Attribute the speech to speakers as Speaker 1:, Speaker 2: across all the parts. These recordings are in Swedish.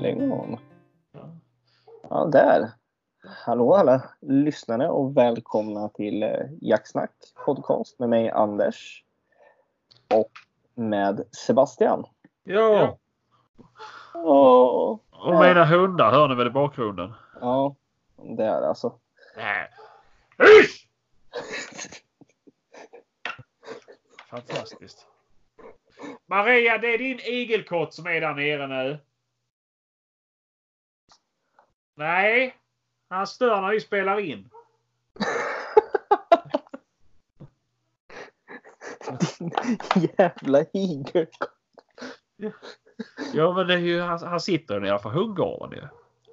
Speaker 1: igång. Ja, där. Hallå alla lyssnare och välkomna till eh, Jacksnack podcast med mig Anders och med Sebastian.
Speaker 2: Ja,
Speaker 1: Åh.
Speaker 2: och mina hundar hör ni väl i bakgrunden?
Speaker 1: Ja, där alltså.
Speaker 2: Nej. Usch! Fantastiskt. Maria, det är din igelkott som är där nere nu. Nej, han stör när vi spelar in.
Speaker 1: Jävla igelkott.
Speaker 2: Ja, men det är ju, han, han sitter ju nedanför hundgården ju.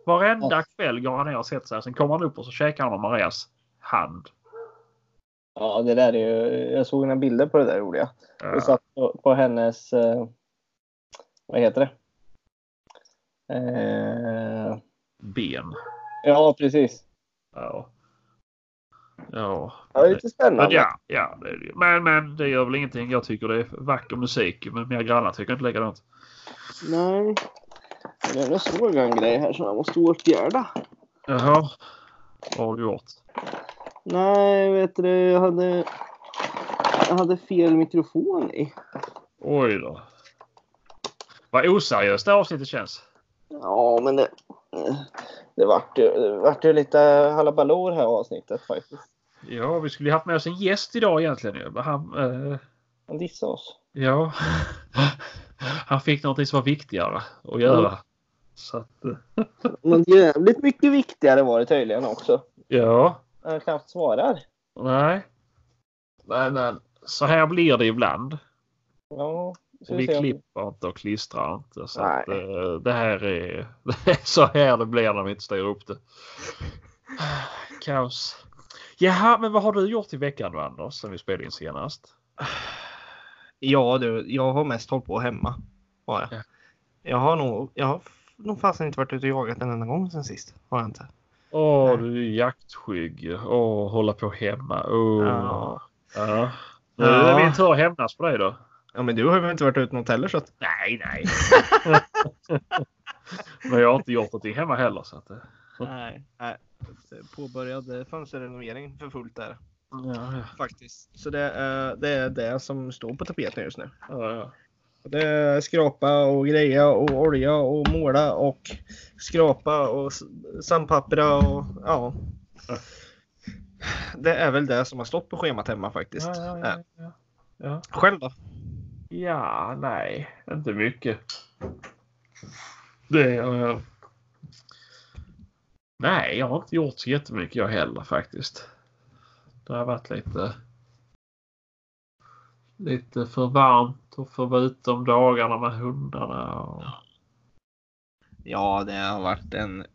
Speaker 2: Varenda
Speaker 1: Ja.
Speaker 2: kväll går han ner och sätter sig. Sen kommer han upp och så käkar han av Marias hand.
Speaker 1: Ja, det där är ju, jag såg några bilder på det där roliga.
Speaker 2: Ja.
Speaker 1: Jag satt på, på hennes, eh, vad heter det? Eh,
Speaker 2: äh, ben.
Speaker 1: ja, precis.
Speaker 2: Ja. Ja.
Speaker 1: Ja, det är lite
Speaker 2: Men
Speaker 1: spännande.
Speaker 2: ja, ja. det är det ju. Men, men det gör väl ingenting. Jag tycker det är vacker musik. Men mina grannar tycker inte likadant.
Speaker 1: Nej. Men Nu såg jag en grej här som jag måste åtgärda.
Speaker 2: Jaha. Vad har du gjort?
Speaker 1: Nej, vet du, jag hade, jag hade fel mikrofon i.
Speaker 2: Oj då. Vad oseriöst det här avsnittet känns.
Speaker 1: Ja, men det, det vart ju, det vart ju lite halabaloo det här avsnittet faktiskt.
Speaker 2: Ja, vi skulle ju haft med oss en gäst idag egentligen. ju, Men han, eh,
Speaker 1: Han dissade oss.
Speaker 2: ja. han fick någonting som var viktigare att göra. Så att, eh,
Speaker 1: Men jävligt mycket viktigare var det tydligen också.
Speaker 2: ja.
Speaker 1: Han knappt svarar.
Speaker 2: Nej. Nej, men så här blir det ibland.
Speaker 1: Ja, så
Speaker 2: Och
Speaker 1: vi
Speaker 2: vi
Speaker 1: ser om-
Speaker 2: klipper inte och klistrar inte. Så
Speaker 1: Nej.
Speaker 2: att, eh, det här är det är så här det blir när vi inte styr upp det. Kaos. Jaha, men vad har du gjort i veckan då Anders, sen vi spelade in senast?
Speaker 3: Ja du, jag har mest hållit på hemma. Har jag.
Speaker 2: Ja.
Speaker 3: jag har nog, jag har f- nog fasen inte varit ute och jagat en enda gång sen sist. Har jag inte.
Speaker 2: Åh, du är jaktskygg. Åh, hålla på hemma. Åh.
Speaker 3: Ja.
Speaker 2: Ja. Nu
Speaker 3: Ja.
Speaker 2: är det min tur att hämnas på dig då.
Speaker 3: Ja men du har väl inte varit ute något heller så att.
Speaker 2: Nej, nej. men jag har inte gjort någonting hemma heller. Så att, eh,
Speaker 3: Nej. Nej. Påbörjade fönsterrenovering för fullt där
Speaker 2: ja, ja.
Speaker 3: faktiskt. Så det, är- det är det som står på tapeten just nu.
Speaker 2: Ja, ja.
Speaker 3: Det är skrapa och greja och olja och måla och skrapa och s- sandpappra och ja.
Speaker 2: Ja.
Speaker 3: Det är väl det som har stått på schemat hemma faktiskt. Äh,
Speaker 2: Ja, ja, ja, ja. ja.
Speaker 3: Själv då?
Speaker 2: Ja, nej, inte mycket. Det... Eh, nej, jag har inte gjort så jättemycket jag heller faktiskt. Det har varit lite... Lite för varmt och för varmt om dagarna med hundarna. Och,
Speaker 3: Ja, det har varit en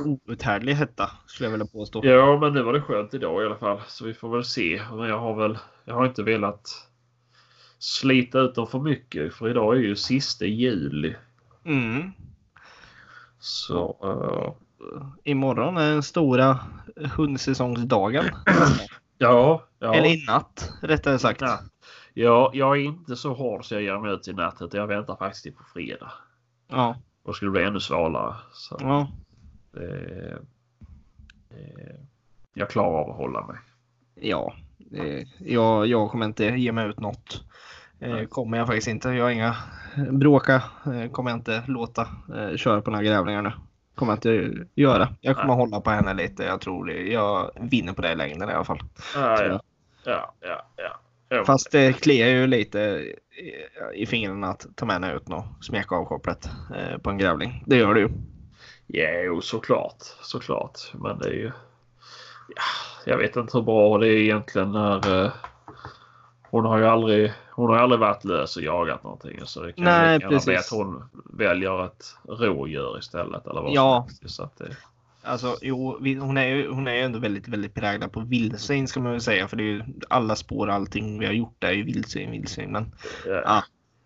Speaker 3: outhärdlig hetta skulle jag vilja påstå.
Speaker 2: ja, men nu var det skönt idag i alla fall. Så vi får väl se. Men jag har väl... Jag har inte velat slita ut dem för mycket. För idag är ju sista juli.
Speaker 3: Mm.
Speaker 2: Så... eh,
Speaker 3: Imorgon är den stora hundsäsongsdagen.
Speaker 2: ja, ja.
Speaker 3: Eller i natt rättare sagt.
Speaker 2: Ja. Ja, jag är inte så hård så jag ger mig ut i nätet. Jag väntar faktiskt till på fredag.
Speaker 3: Ja.
Speaker 2: Då skulle det bli ännu svalare. Så
Speaker 3: ja.
Speaker 2: eh, eh, jag klarar av att hålla mig.
Speaker 3: ja. Eh, Jag, jag kommer inte ge mig ut något. Eh,
Speaker 2: Nej.
Speaker 3: kommer jag faktiskt inte. Jag har inga bråka. Eh, kommer jag inte låta eh, köra på några grävlingar nu. Kommer jag inte göra. Jag kommer
Speaker 2: Nej.
Speaker 3: hålla på henne lite. Jag tror det. Jag vinner på det i längden i alla fall.
Speaker 2: Ah,
Speaker 3: Så-
Speaker 2: ja, ja, ja, ja. ja.
Speaker 3: Fast det kliar ju lite i- i fingrarna att ta med henne ut och smeka av kopplet eh, på en grävling. Det gör det ju.
Speaker 2: Jo, såklart. Såklart. Men det är ju... Ja, jag vet inte hur bra det är egentligen när... Eh, hon har ju aldrig, hon har ju aldrig varit lös och jagat någonting. Så det kan ju
Speaker 3: Nej,
Speaker 2: lika gärna bli att
Speaker 3: precis.
Speaker 2: hon väljer ett rådjur istället. Eller vad som
Speaker 3: Ja.
Speaker 2: helst. Så att det,
Speaker 3: Alltså jo, vi, hon, är ju, hon är ju ändå väldigt, väldigt präglad på vildsvin ska man väl säga. För det är ju alla spår och allting vi har gjort är ju vildsvin, vildsvin. Men
Speaker 2: ja.
Speaker 3: Ja.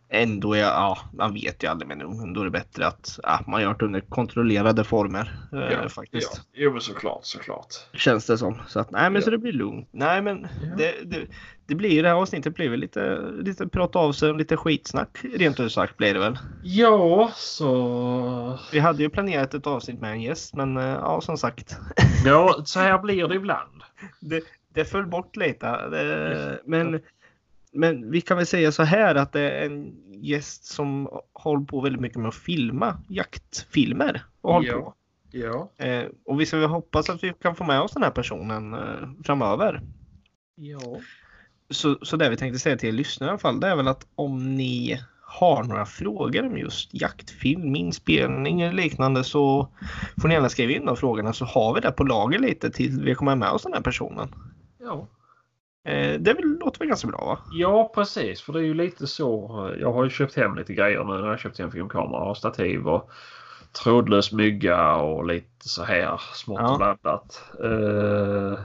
Speaker 3: Ändå är, ja, man vet ju aldrig men ändå är det bättre att ja, man gör det under kontrollerade former. eh,
Speaker 2: Ja,
Speaker 3: faktiskt.
Speaker 2: Ja. Jo men såklart, såklart.
Speaker 3: Känns det som. Så att, nej men så
Speaker 2: Ja.
Speaker 3: det blir lugnt. Nej men
Speaker 2: Ja.
Speaker 3: det, det, det blir ju det här avsnittet blir väl lite, lite prata av sig, lite skitsnack rent ut sagt blir det väl.
Speaker 2: Ja, så...
Speaker 3: Vi hade ju planerat ett avsnitt med en gäst men eh, ja som sagt.
Speaker 2: Ja, så här blir det ibland.
Speaker 3: Det, det föll bort lite. eh, Men, men vi kan väl säga så här att det är en gäst som håller på väldigt mycket med att filma jaktfilmer. Och håller
Speaker 2: Ja.
Speaker 3: på.
Speaker 2: Ja.
Speaker 3: Eh, Och vi ska väl hoppas att vi kan få med oss den här personen eh, framöver.
Speaker 2: Ja.
Speaker 3: Så, så det vi tänkte säga till er lyssnare i alla fall, det är väl att om ni har några frågor om just jaktfilm, inspelning eller liknande så får ni gärna skriva in de frågorna så har vi det på lager lite tills vi kommer med oss den här personen.
Speaker 2: Ja.
Speaker 3: Eh, det är väl, låter väl ganska bra va?
Speaker 2: ja, precis. För det är ju lite så. eh, Jag har ju köpt hem lite grejer nu. när Jag har köpt hem filmkamera och stativ och trådlös mygga och lite så här smått
Speaker 3: Ja.
Speaker 2: och blandat. Eh,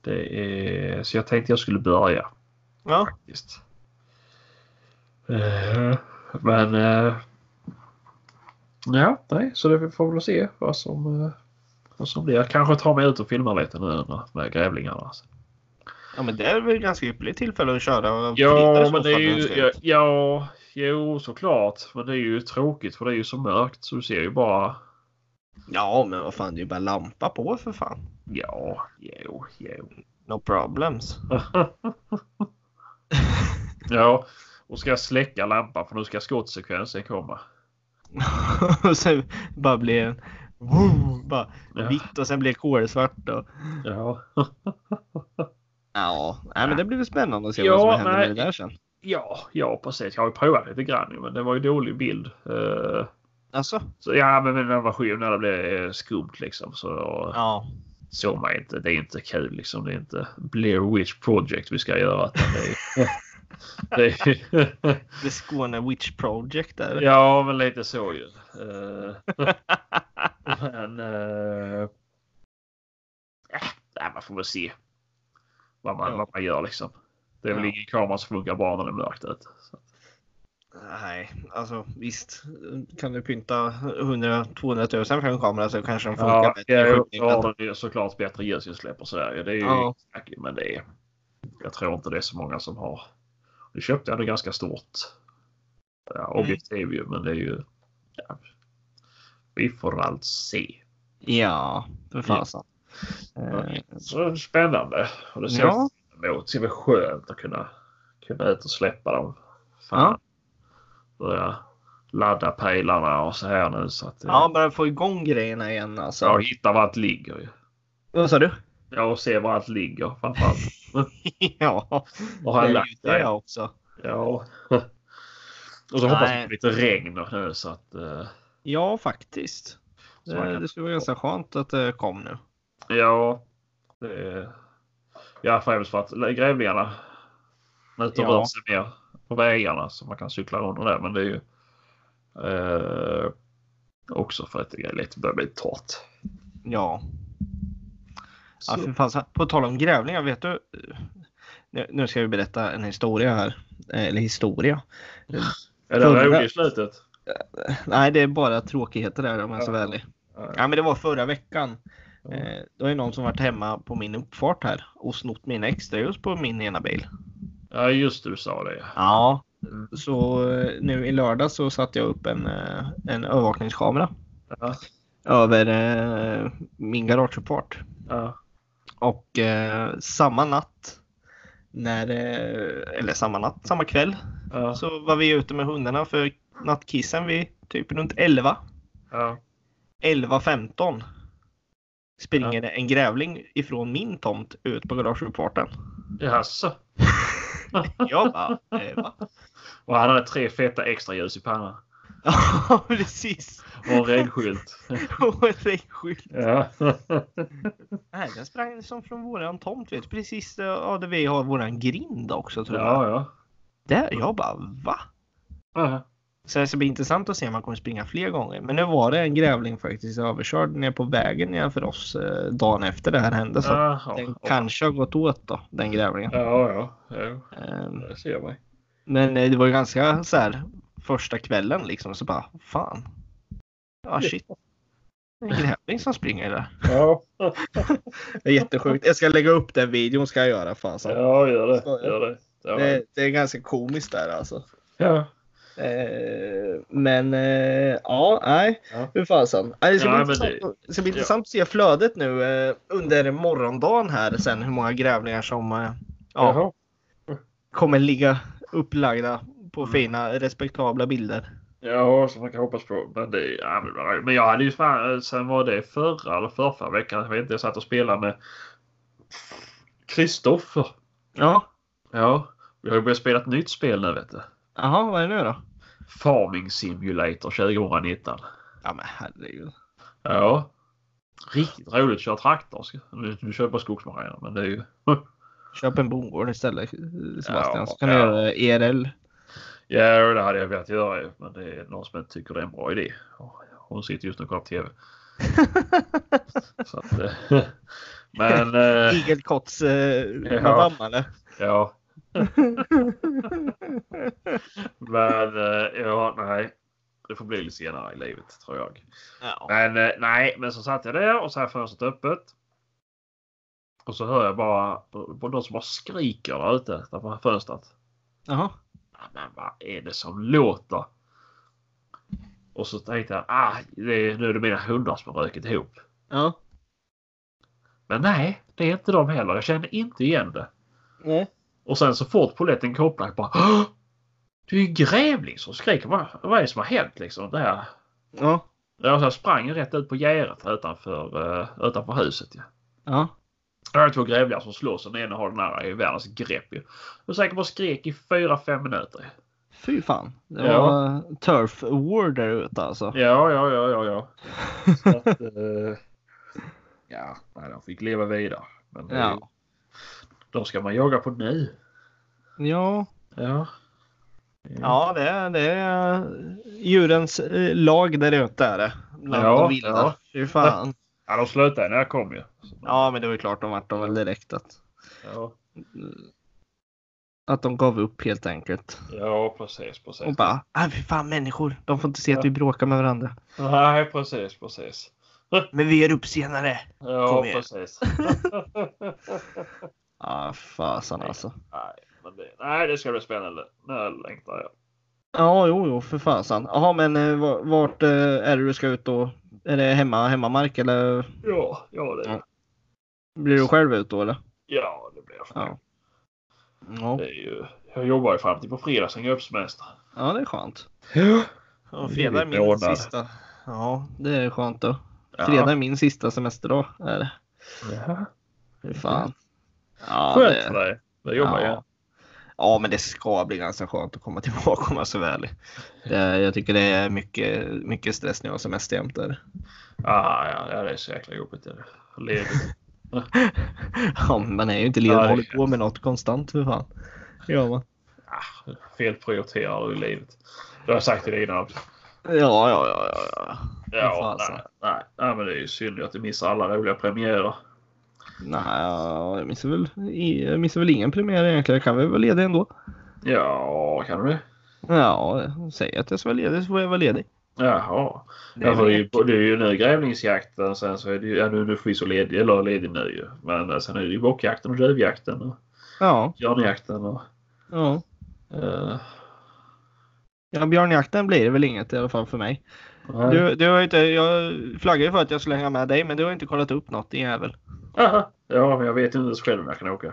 Speaker 2: det är... Så jag tänkte jag skulle börja.
Speaker 3: Ja,
Speaker 2: faktiskt. Eh, men eh, ja, nej, så det får vi väl se vad som, eh, vad som blir. Jag kanske tar mig ut och filmar lite nu med grävlingarna.
Speaker 3: ja men det är väl ganska ypperligt tillfälle att köra. fredag i
Speaker 2: Ja,
Speaker 3: så
Speaker 2: men det är
Speaker 3: fall, önskar
Speaker 2: ju...
Speaker 3: jag.
Speaker 2: Ja, ja, jo, såklart. Men det är ju tråkigt för det är ju så mörkt så du ser ju bara...
Speaker 3: Ja, men vad fan, det är ju bara lampa på för fan.
Speaker 2: Ja, jo, jo.
Speaker 3: No problems.
Speaker 2: ja, och ska jag släcka lampan för nu ska skottsekvensen komma.
Speaker 3: och sen bara blir en... Woo, bara
Speaker 2: Ja.
Speaker 3: vitt och sen blir det kolsvart. Och...
Speaker 2: Ja.
Speaker 3: Ja, nej, men det blir väl spännande att se
Speaker 2: Ja,
Speaker 3: vad som händer
Speaker 2: nej.
Speaker 3: med det där sen.
Speaker 2: Ja, ja precis. Jag har ju provat lite grann ju, men det var ju dålig bild. Eh,
Speaker 3: Alltså?
Speaker 2: så ja, men den var skymd när det blev eh, skumt liksom. Så
Speaker 3: Ja.
Speaker 2: såg man inte. Det är inte kul liksom. Det är inte Blair Witch Project vi ska göra. utan Det är, det är,
Speaker 3: The Skåne Witch Project där.
Speaker 2: ja, men lite så ju. Eh, men... eh, ja, nej, man får väl se vad man,
Speaker 3: Ja.
Speaker 2: vad man gör liksom. Det är väl
Speaker 3: Ja.
Speaker 2: ingen kamera som funkar bra när det är mörkt ute. Så.
Speaker 3: Nej, alltså visst. Kan du pynta 100-200 000 för en kamera så kanske den funkar
Speaker 2: Ja,
Speaker 3: bättre. i
Speaker 2: ja, då
Speaker 3: skjutningen.
Speaker 2: har den ju såklart bättre ljusinsläpp och sådär. Det är ju
Speaker 3: Ja.
Speaker 2: säkert, men det är, jag tror inte det är så många som har. Nu köpte jag det ganska stort. Ja,
Speaker 3: Mm.
Speaker 2: objektiv ju, men det är ju. Ja, vi får allt se.
Speaker 3: ja, för fasen. Eh,
Speaker 2: Så spännande. Och det ser
Speaker 3: Ja.
Speaker 2: ja. emot. Det ser väl skönt att kunna kunna ut och släppa dem.
Speaker 3: Ja.
Speaker 2: Fan. Börja ladda pejlarna och så här nu så att. eh,
Speaker 3: Ja, bara få igång grejerna igen
Speaker 2: Jag
Speaker 3: alltså.
Speaker 2: hittar var allt ligger ju.
Speaker 3: Vad sa du?
Speaker 2: Ja, och se var allt ligger framförallt.
Speaker 3: ja,
Speaker 2: Vad
Speaker 3: det
Speaker 2: har jag
Speaker 3: är ju
Speaker 2: lagt
Speaker 3: det
Speaker 2: dig?
Speaker 3: också.
Speaker 2: Ja. Och så hoppas
Speaker 3: Nej.
Speaker 2: jag på lite regn nu så att... eh,
Speaker 3: Ja, faktiskt.
Speaker 2: Så man
Speaker 3: Eh,
Speaker 2: kan-
Speaker 3: Det skulle vara ganska skönt att det kom nu.
Speaker 2: Ja. Det är, ja, främst för att grävlingarna är ute och
Speaker 3: Ja.
Speaker 2: rör sig mer på vägarna så man kan cykla runt och det. Men det är ju eh, också för att det är lite, börjar bli torrt.
Speaker 3: Ja, Ja,
Speaker 2: Så-
Speaker 3: för fan, så- på tal om grävlingar, vet du? Nu, nu ska vi berätta en historia här. Eh, Eller historia.
Speaker 2: Är det
Speaker 3: förra-
Speaker 2: roligt i slutet?
Speaker 3: Nej, det är bara tråkigheter där om jag ska vara
Speaker 2: Ja.
Speaker 3: ärlig.
Speaker 2: Ja.
Speaker 3: Ja, men det var förra veckan.
Speaker 2: Ja.
Speaker 3: Eh, då är det någon som varit hemma på min uppfart här och snott mina extraljus på min ena bil.
Speaker 2: Ja, just det, du sa det.
Speaker 3: Ja.
Speaker 2: Mm.
Speaker 3: Så eh, nu i lördag så satte jag upp en, eh, en övervakningskamera
Speaker 2: Ja.
Speaker 3: över eh, min garageuppfart.
Speaker 2: Ja.
Speaker 3: Och eh, samma natt, när, eh, eller samma natt, samma kväll
Speaker 2: Ja.
Speaker 3: Så var vi ute med hundarna för nattkissen vid typ runt 11.
Speaker 2: Ja.
Speaker 3: 11.15 springer det en grävling ifrån min tomt ut på garageuppfarten.
Speaker 2: Jaså?
Speaker 3: Jag bara, eh, va?
Speaker 2: Och han hade tre feta extra ljus i pannan.
Speaker 3: Ja, precis.
Speaker 2: Och en regskylt.
Speaker 3: Och en regnskylt.
Speaker 2: Ja.
Speaker 3: Nej, den sprang som från våran tomt, vet du. Precis eh, ja, där vi har våran grind också tror jag.
Speaker 2: ja, ja.
Speaker 3: Där, jag bara, va?
Speaker 2: Ja.
Speaker 3: Så det ska bli intressant att se om man kommer springa fler gånger. Men nu var det en grävling faktiskt överkörd ner på vägen nedanför oss eh, dagen efter det här hände. Så
Speaker 2: Jaha.
Speaker 3: Den kanske har gått åt då, den grävlingen.
Speaker 2: Ja, ja. ja.
Speaker 3: Ehm,
Speaker 2: Det ser jag mig.
Speaker 3: Men eh, det var ju ganska så här första kvällen liksom så bara fan. Ah shit. Det är en grävling som springer där.
Speaker 2: Ja,
Speaker 3: Det är jättesjukt. Jag ska lägga upp den videon ska jag göra. Fan, så.
Speaker 2: ja gör det. Gör det. Ja.
Speaker 3: Det, det är ganska komiskt där alltså.
Speaker 2: Ja.
Speaker 3: Eh, men eh, ja, nej.
Speaker 2: Ja.
Speaker 3: Hur fasen. Nej, Det ska bli
Speaker 2: Ja, men
Speaker 3: intressant,
Speaker 2: det-
Speaker 3: det ska bli
Speaker 2: ja.
Speaker 3: intressant att se flödet nu eh, under morgondagen här sen hur många grävlingar som eh, ja,
Speaker 2: Jaha.
Speaker 3: kommer ligga upplagda på
Speaker 2: Mm.
Speaker 3: fina respektabla bilder.
Speaker 2: Ja, som man kan hoppas på. Men, det, ja, men- men jag hade ju fan, sen var det förra eller förra, veckan, jag vet inte, jag satt och spelade med Kristoffer.
Speaker 3: Ja.
Speaker 2: Ja, vi har ju börjat spela ett nytt spel nu vet du.
Speaker 3: Jaha, vad är det nu då?
Speaker 2: Farming Simulator 2019.
Speaker 3: Ja men herregud.
Speaker 2: Ja. Riktigt roligt att köra traktor. Du, du kör bara skogsmaskiner men det är ju...
Speaker 3: Köp en bondgård istället eh, Sebastian
Speaker 2: Ja,
Speaker 3: så kan
Speaker 2: ja.
Speaker 3: du göra E ERL.
Speaker 2: Ja, det hade jag velat göra ju, men det är någon som inte tycker det är en bra idé. Hon sitter just nu och kollar på TV. Så att, eh, men eh,
Speaker 3: Igelkotts eh,
Speaker 2: Ja.
Speaker 3: madam eller?
Speaker 2: ja. Men eh, ja, nej. Det får bli lite senare i livet tror jag.
Speaker 3: Ja.
Speaker 2: Men eh, nej, men så satt jag där och så här fönstret öppet. Och så hör jag bara på, på någon som bara skriker där ute utanför fönstret.
Speaker 3: Jaha.
Speaker 2: Ja, "Ah, Men vad är det som låter? Och så tänkte jag, ah, det är, nu är det mina hundar som har rökt ihop.
Speaker 3: Ja.
Speaker 2: Men nej, det är inte de heller. Jag känner inte igen det. Mm.
Speaker 3: Nej.
Speaker 2: Och sen så fort polletten kopplar, jag bara, "Åh! det är ju en grävling som skriker. Vad, vad är det som har hänt liksom? Det här.
Speaker 3: Ja.
Speaker 2: Ja, så jag sprang rätt ut på gärdet här utanför, eh, utanför huset. Ja.
Speaker 3: Ja.
Speaker 2: Där är två grävlingar som slåss och den ena har den andra i världens grepp. Ju. Och säkert bara skrek i fyra fem minuter.
Speaker 3: Fy fan. Det
Speaker 2: Ja.
Speaker 3: var turf war där ute alltså.
Speaker 2: Ja, ja, ja, ja, ja. Så att, eh, ja, nej, de fick leva vidare. Men det,
Speaker 3: Ja.
Speaker 2: de ska man jaga på nu.
Speaker 3: Ja,
Speaker 2: Ja.
Speaker 3: ja det, är, det är djurens eh, lag där ute är det. Bland
Speaker 2: Ja,
Speaker 3: de vilda.
Speaker 2: ja.
Speaker 3: Fy fan.
Speaker 2: ja, de slutade när jag kom ju. Så,
Speaker 3: Ja, men det var ju klart de vart de väl direkt att,
Speaker 2: ja.
Speaker 3: att de gav upp helt enkelt.
Speaker 2: Ja, precis,
Speaker 3: Och
Speaker 2: precis.
Speaker 3: bara, ah, fy fan människor, de får inte se att
Speaker 2: Ja.
Speaker 3: vi bråkar med varandra.
Speaker 2: Nej, precis, precis.
Speaker 3: Men vi är upp senare.
Speaker 2: Ja,
Speaker 3: Kom igen.
Speaker 2: precis.
Speaker 3: Ja, ah, fasen alltså.
Speaker 2: nej, men det, nej, det ska bli spännande. Nu längtar jag.
Speaker 3: Ja, jo, jo, för fasen. Jaha, men eh, va- vart eh, är det du ska ut då? Är det hemma, hemmamark eller
Speaker 2: Ja, ja, det,
Speaker 3: Ja. blir du själv ut då eller?
Speaker 2: ja, det blir jag.
Speaker 3: Ja. Ja,
Speaker 2: Det är ju, jag jobbar ju fram till på fredag, sen går jag upp semester.
Speaker 3: ja det är skönt.
Speaker 2: Ja.
Speaker 3: Ja,
Speaker 2: Det
Speaker 3: fredag är
Speaker 2: är
Speaker 3: min
Speaker 2: ordnad.
Speaker 3: sista. Ja, det är skönt då. Fredag är min sista semesterdag. Är det.
Speaker 2: Ja.
Speaker 3: Fy fan. Ja,
Speaker 2: Mm. Skönt för
Speaker 3: det,
Speaker 2: dig. Det jobbar jag.
Speaker 3: ja. ja, men det ska bli ganska skönt att komma tillbaka om jag ska vara ärlig. Det, jag tycker det är mycket, mycket stress när jag har semester jämt. där.
Speaker 2: Ah, ja, ja, det är så jäkla jobbigt. det är det. Ledigt.
Speaker 3: Ja, men man är ju inte ledig och
Speaker 2: Nej.
Speaker 3: håller på med något konstant för fan. Ja, man.
Speaker 2: Ah, felprioriterar i livet. Det har jag sagt till dig innan.
Speaker 3: ja, ja, ja. ja, ja.
Speaker 2: Ja,
Speaker 3: Fan,
Speaker 2: nej,
Speaker 3: alltså.
Speaker 2: nej, nej, men det är ju synd att du missar alla roliga premiärer.
Speaker 3: Nej, jag missar, väl, jag missar väl ingen premiär egentligen. Jag kan väl vara ledig ändå.
Speaker 2: Ja, kan du det?
Speaker 3: Ja, säg att jag ska vara ledig så får jag vara ledig.
Speaker 2: Jaha.
Speaker 3: Det är
Speaker 2: Ja, för
Speaker 3: väl
Speaker 2: det, är ju, det är ju nu grävlingsjakten. Sen så är det ju, ja, nu, nu får vi så ledig, eller ledig nu ju. Men eh, sen är det ju bockjakten och duvjakten och
Speaker 3: Ja,
Speaker 2: björnjakten och...
Speaker 3: ja.
Speaker 2: eh,
Speaker 3: Ja, björnjakten blir det väl inget i alla fall för mig.
Speaker 2: nej.
Speaker 3: Du, du har ju inte, jag flaggade ju för att jag skulle hänga med dig, men du har ju inte kollat upp något din jävel.
Speaker 2: Aha. Ja, men jag vet inte ens själv om jag kan åka.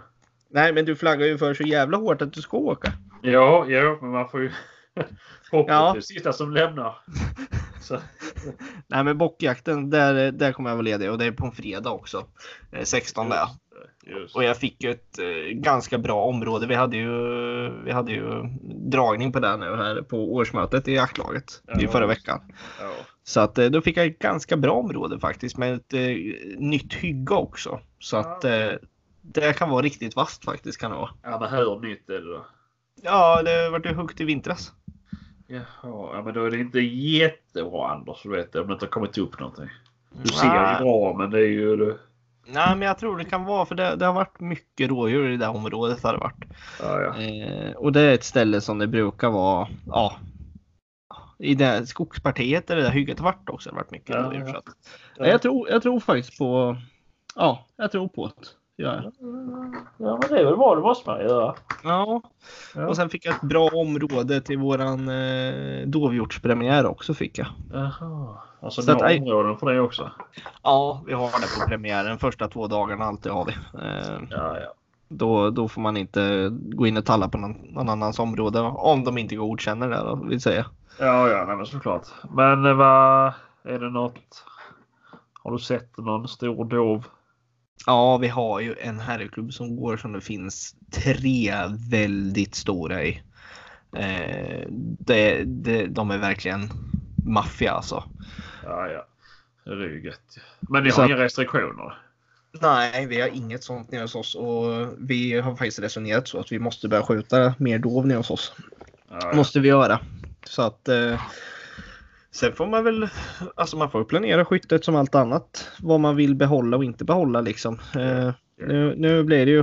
Speaker 3: Nej, men du flaggar ju för så jävla hårt att du ska åka.
Speaker 2: Ja, ja men man får ju... Hoppet
Speaker 3: Ja.
Speaker 2: är det sista som lämnar. Så,
Speaker 3: Nej, men bockjakten, där, där kommer jag vara ledig och det är på en fredag också. Eh, 16 där.
Speaker 2: just.
Speaker 3: Och jag fick ju ett eh, ganska bra område. Vi hade ju, vi hade ju dragning på det nu här på årsmötet i jaktlaget i
Speaker 2: Ja.
Speaker 3: förra veckan.
Speaker 2: Ja.
Speaker 3: Så att eh, då fick jag ett ganska bra område faktiskt med ett eh, nytt hygge också. Så att eh, det kan vara riktigt vasst faktiskt kan det vara.
Speaker 2: ja, men hur nytt är det då?
Speaker 3: Ja, det vart ju högt i vintras.
Speaker 2: Jaha, ja, men då är det inte jättebra Anders, du vet det, om det inte har kommit upp någonting. Du ser ju
Speaker 3: Nej.
Speaker 2: bra, men det är ju...
Speaker 3: Nej, men jag tror det kan vara för det, det har varit mycket rådjur i det här området. Har det varit.
Speaker 2: Ja, ja.
Speaker 3: Eh, och det är ett ställe som det brukar vara. Ja, I det här skogspartiet där det där hygget har varit också. Det har varit mycket
Speaker 2: Ja,
Speaker 3: rådjur.
Speaker 2: ja.
Speaker 3: Så att, ja. jag, tror, jag tror faktiskt på. Ja, jag tror på det. Ja,
Speaker 2: Ja, men det är väl bra. Det måste man göra.
Speaker 3: ja.
Speaker 2: Ja.
Speaker 3: Och sen fick jag ett bra område till våran eh, dovhjortspremiär också fick jag.
Speaker 2: Jaha. Alltså
Speaker 3: Så
Speaker 2: så
Speaker 3: att-
Speaker 2: några områden för det också?
Speaker 3: Ja, vi har det på premiären. Första två dagarna alltid har vi. Eh,
Speaker 2: Ja, ja.
Speaker 3: Då, då får man inte gå in och talla på någon, någon annans område om de inte godkänner det då, vill säga.
Speaker 2: Ja, ja, nej, men såklart. Men eh, vad är det något? Har du sett någon stor dov?
Speaker 3: Ja, vi har ju en herrklubb som går som det finns tre väldigt stora i. Eh, det, det, de är verkligen maffia alltså.
Speaker 2: Ja, ja. Det är ju gött. Men ni
Speaker 3: Så
Speaker 2: har
Speaker 3: att-
Speaker 2: inga restriktioner?
Speaker 3: Nej, vi har inget sånt nere hos oss och vi har faktiskt resonerat så att vi måste börja skjuta mer dov nere hos oss.
Speaker 2: Ja, ja.
Speaker 3: måste vi göra. Så att eh, sen får man väl, alltså man får ju planera skyttet som allt annat. Vad man vill behålla och inte behålla liksom. Eh, nu, nu blir det ju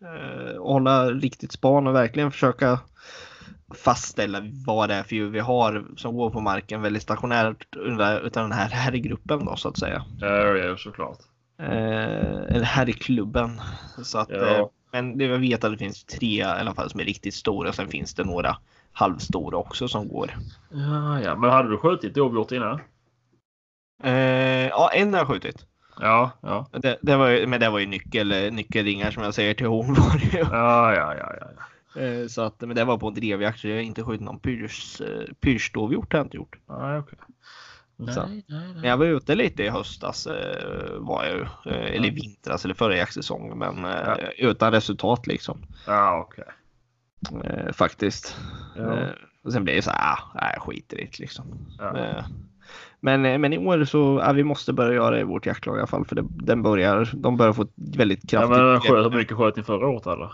Speaker 3: eh, att hålla riktigt span och verkligen försöka fastställa vad det är för djur vi har som går på marken väldigt stationärt under- utan den här herrgruppen då så att säga.
Speaker 2: Ja, ja, såklart.
Speaker 3: Eh, eller herrklubben. Så att,
Speaker 2: Ja.
Speaker 3: eh, men det jag vet att det finns tre i alla fall som är riktigt stora. Sen finns det några halvstora också som går.
Speaker 2: Ja, ja. Men hade du skjutit dovhjort innan?
Speaker 3: Eh, ja, en har jag skjutit.
Speaker 2: Ja, ja.
Speaker 3: Det, det var ju, men det var ju nyckel, nyckelringar som jag säger till hon var det ju.
Speaker 2: Ja, ja, ja, ja. ja.
Speaker 3: Eh, så att, men det var på en drevjakt så jag har inte skjutit någon pyrs, eh, pyrsdovhjort. har jag inte gjort.
Speaker 2: Nej, okej.
Speaker 3: Så.
Speaker 2: Nej, nej,
Speaker 3: Men
Speaker 2: nej.
Speaker 3: jag var ute lite i höstas. Eh, var jag ju. Eh, eller i vintras eller förra jaktsäsongen. Men eh, utan resultat liksom.
Speaker 2: Ja, okej.
Speaker 3: Eh, faktiskt.
Speaker 2: Ja.
Speaker 3: Eh, och sen blir det så här, ah, nej, jag skiter i det liksom.
Speaker 2: Ja.
Speaker 3: Eh, men, eh, men i år så, ja, vi måste börja göra det i vårt jaktlag i alla fall. För det, den börjar, de börjar få ett väldigt
Speaker 2: Ja,
Speaker 3: kraftigt...
Speaker 2: men sköt, hur mycket sköt ni förra året eller?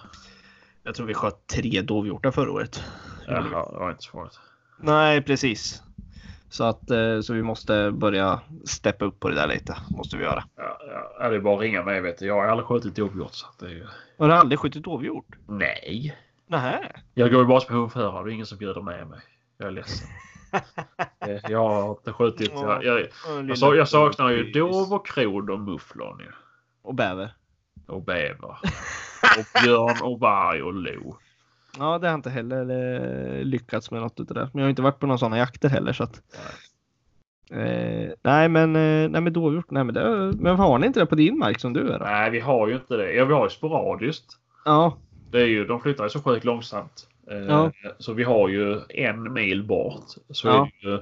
Speaker 3: Jag tror vi sköt tre dovhjortar förra året.
Speaker 2: Jaha, det var inte så farligt.
Speaker 3: Nej, precis. Så, att, eh, så vi måste börja steppa upp på det där lite. Måste vi göra.
Speaker 2: Ja, ja, det är bara att ringa mig vet du. Jag har aldrig skjutit dovhjort så att det är ju...
Speaker 3: Har du aldrig skjutit dovhjort?
Speaker 2: Nej.
Speaker 3: Nej.
Speaker 2: Jag går ju bara som hundförare. Det är ingen som bjuder med mig. Jag är ledsen. Eh, jag har inte skjutit. Jag, jag, jag, sa- jag saknar ju dov och krod och mufflon ju.
Speaker 3: Och bäver.
Speaker 2: Och bäver. Och björn och varg och lo.
Speaker 3: Ja, det har jag inte heller eh, lyckats med något utav det. Men jag har inte varit på några sådana jakter heller så att. Eh, nej, men eh, nej, men dovhjort. Nej, men det, men har ni inte det på din mark som du är då?
Speaker 2: Nej, vi har ju inte det. Ja, vi har ju sporadiskt.
Speaker 3: Ja,
Speaker 2: Det är ju, de flyttar ju så sjukt långsamt. Eh,
Speaker 3: Ja.
Speaker 2: Så vi har ju en mil bort. Så
Speaker 3: Ja.
Speaker 2: är det ju eh,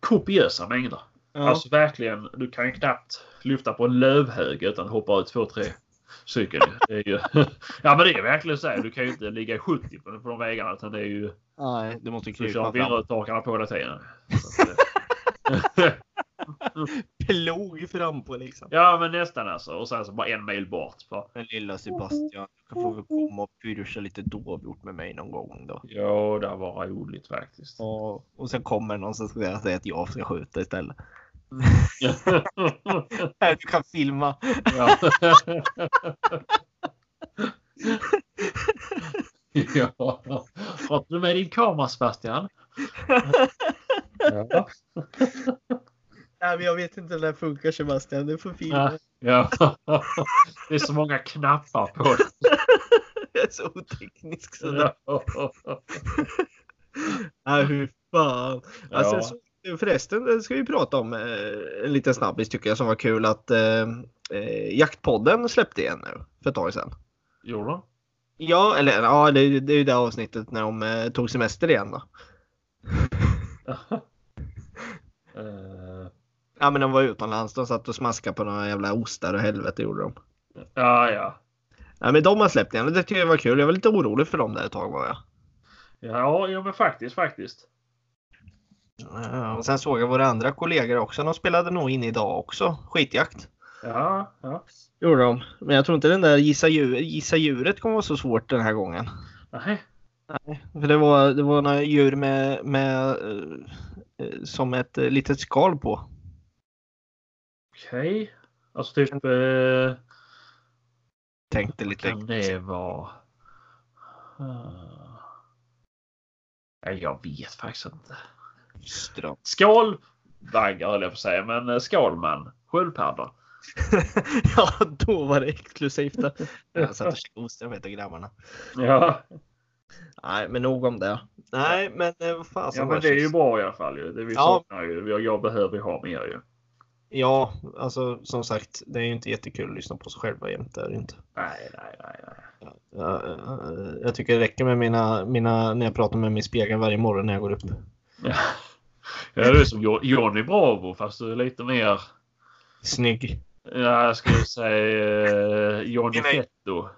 Speaker 2: kopiösa mängder.
Speaker 3: ja,
Speaker 2: Alltså verkligen, du kan ju knappt lyfta på en lövhög utan hoppa ut två, tre stycken. Det är ju, ja men det är verkligen så här. Du kan ju inte ligga i 70 på, på de vägarna utan det är ju...
Speaker 3: nej, du måste
Speaker 2: Du kör
Speaker 3: krypa fram.
Speaker 2: vindrutetorkarna på hela tiden. Så att, eh,
Speaker 3: Plog fram på liksom.
Speaker 2: ja men nästan alltså. Och sen så bara en mil bort. Bara,
Speaker 3: Men lilla Sebastian, du kan få väl komma och pyrsa lite dovhjort med mig någon gång då.
Speaker 2: ja, det var roligt faktiskt.
Speaker 3: Och, och sen kommer någon som ska säga att jag ska skjuta istället. Nej, Du kan filma.
Speaker 2: Ja. ja. Har du med din kamera Sebastian? Ja.
Speaker 3: Nej, men jag vet inte hur det där funkar Sebastian. Du får
Speaker 2: Nej. ja. Det är så många knappar på det.
Speaker 3: Jag är så oteknisk sådär.
Speaker 2: Ja.
Speaker 3: Ja, hur fan. Alltså,
Speaker 2: Ja.
Speaker 3: så, förresten, det ska vi prata om eh, en liten snabbis tycker jag som var kul att eh, eh, Jaktpodden släppte igen nu för ett tag sedan.
Speaker 2: Gjorde de?
Speaker 3: Ja, eller ja, det, är ju- det är ju det avsnittet när de eh, tog semester igen då.
Speaker 2: Eh,
Speaker 3: Ja, men de var utomlands. De satt och smaskade på några jävla ostar och helvete gjorde de.
Speaker 2: Ja, ja.
Speaker 3: Ja, men de har släppt igen och det tycker jag var kul. Jag var lite orolig för dem där ett tag var jag.
Speaker 2: Ja, ja men faktiskt, faktiskt.
Speaker 3: Ja, Och sen såg jag våra andra kollegor också. De spelade nog in idag också. Skitjakt.
Speaker 2: Ja, ja.
Speaker 3: Gjorde de. Men jag tror inte den där gissa, djur, gissa djuret kommer vara så svårt den här gången.
Speaker 2: Nej.
Speaker 3: För det var, det var några djur med, med eh, eh, som ett eh, litet skal på.
Speaker 2: Okej. Alltså typ... Eh,
Speaker 3: Tänkte lite.
Speaker 2: kan det vara? Eh, ja, jag vet faktiskt inte.
Speaker 3: Ström.
Speaker 2: Skålvaggar höll jag på att säga, men eh, skålman. Sköldpadda.
Speaker 3: ja, då var det exklusivt. Jag satt och käkade ostron vet du, grabbarna.
Speaker 2: Ja,
Speaker 3: Nej, men nog om det. Nej, men eh, vad fasen
Speaker 2: ja
Speaker 3: var
Speaker 2: men det är ju bra i alla fall. Ju. Det vi
Speaker 3: Ja.
Speaker 2: saknar ju. Jag, jag behöver ju ha mer ju.
Speaker 3: Ja, alltså som sagt, det är ju inte jättekul att lyssna på sig själva jämt. Det är det ju inte.
Speaker 2: Nej, nej, nej. nej.
Speaker 3: Ja, eh, jag tycker det räcker med mina, mina, när jag pratar med min spegel varje morgon när jag går upp.
Speaker 2: Ja. Ja, det är som Jo- Johnny Bravo fast du är lite mer,
Speaker 3: Snygg.
Speaker 2: ja, jag skulle säga eh, Johnny
Speaker 3: Nej.
Speaker 2: Fetto.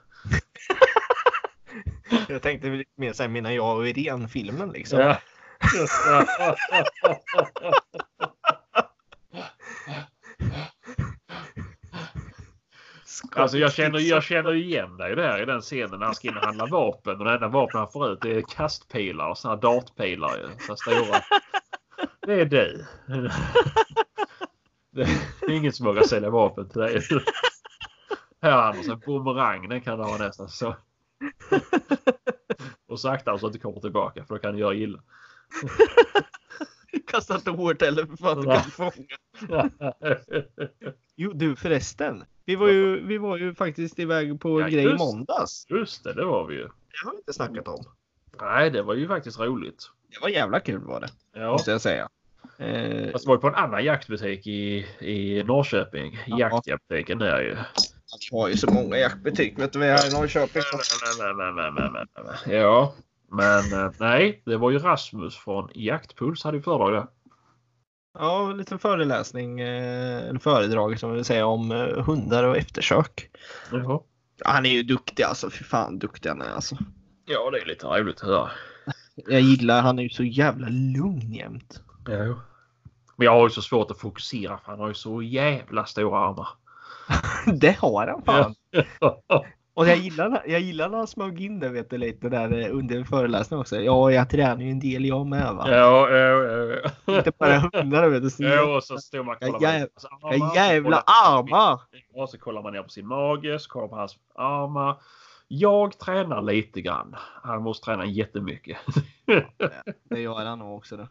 Speaker 3: Jag tänkte lite mer såhär mina jag och Irene-filmen liksom.
Speaker 2: Ja. Alltså jag känner, jag känner ju igen dig där i den scenen när han ska in och handla vapen och det enda vapen han får ut det är kastpilar och såna här dartpilar. Ju, så här stora. Det är du. Det är ingen som vågar sälja vapen till dig. Här Anders, en bumerang den kan du ha nästan så. Och sakta så att du kommer tillbaka för då kan du göra illa.
Speaker 3: Kasta inte hårt heller för fan.
Speaker 2: Nej.
Speaker 3: fånga. Jo du förresten. Vi var ju, vi var ju faktiskt iväg på
Speaker 2: Ja,
Speaker 3: en grej i
Speaker 2: just.
Speaker 3: måndags.
Speaker 2: Just det, det var vi ju.
Speaker 3: Det har vi inte snackat om.
Speaker 2: Nej, det var ju faktiskt roligt.
Speaker 3: Det var jävla kul var det.
Speaker 2: Ja.
Speaker 3: Måste jag säga. Eh,
Speaker 2: Fast det var ju på en annan jaktbutik i, i Norrköping.
Speaker 3: Ja.
Speaker 2: Jaktjaktbutiken där ju.
Speaker 3: vi har ju så många jaktbutik vet du vad jag är i Norrköping.
Speaker 2: Ja, men eh, nej, det var ju Rasmus från Jaktpuls hade ju föredrag där.
Speaker 3: Ja, lite föreläsning, eh, eller föredrag som vi vill säga om eh, hundar och eftersök.
Speaker 2: Jaha.
Speaker 3: Han är ju duktig alltså, fy fan duktig han är alltså.
Speaker 2: Ja, det är lite roligt att höra.
Speaker 3: Jag gillar, han är ju så jävla lugn jämt.
Speaker 2: Ja. Men jag har ju så svårt att fokusera för han har ju så jävla stora armar.
Speaker 3: Det har han fan.
Speaker 2: Ja.
Speaker 3: Och jag gillar, jag gillar när han smög in det vet du lite där eh, under föreläsningen också. Ja, jag tränar ju en del jag med va.
Speaker 2: Ja, ja, ja.
Speaker 3: Inte bara hundar vet du. Så
Speaker 2: Ja, och så står man och kollar
Speaker 3: Ja,
Speaker 2: på
Speaker 3: jäv-
Speaker 2: hans
Speaker 3: jag
Speaker 2: armar, så
Speaker 3: jävla
Speaker 2: kollar man-
Speaker 3: armar!
Speaker 2: Och så kollar man ner på sin mage, så kollar man på hans armar. Jag tränar lite grann. Han måste träna jättemycket.
Speaker 3: Det gör han nog också. Då.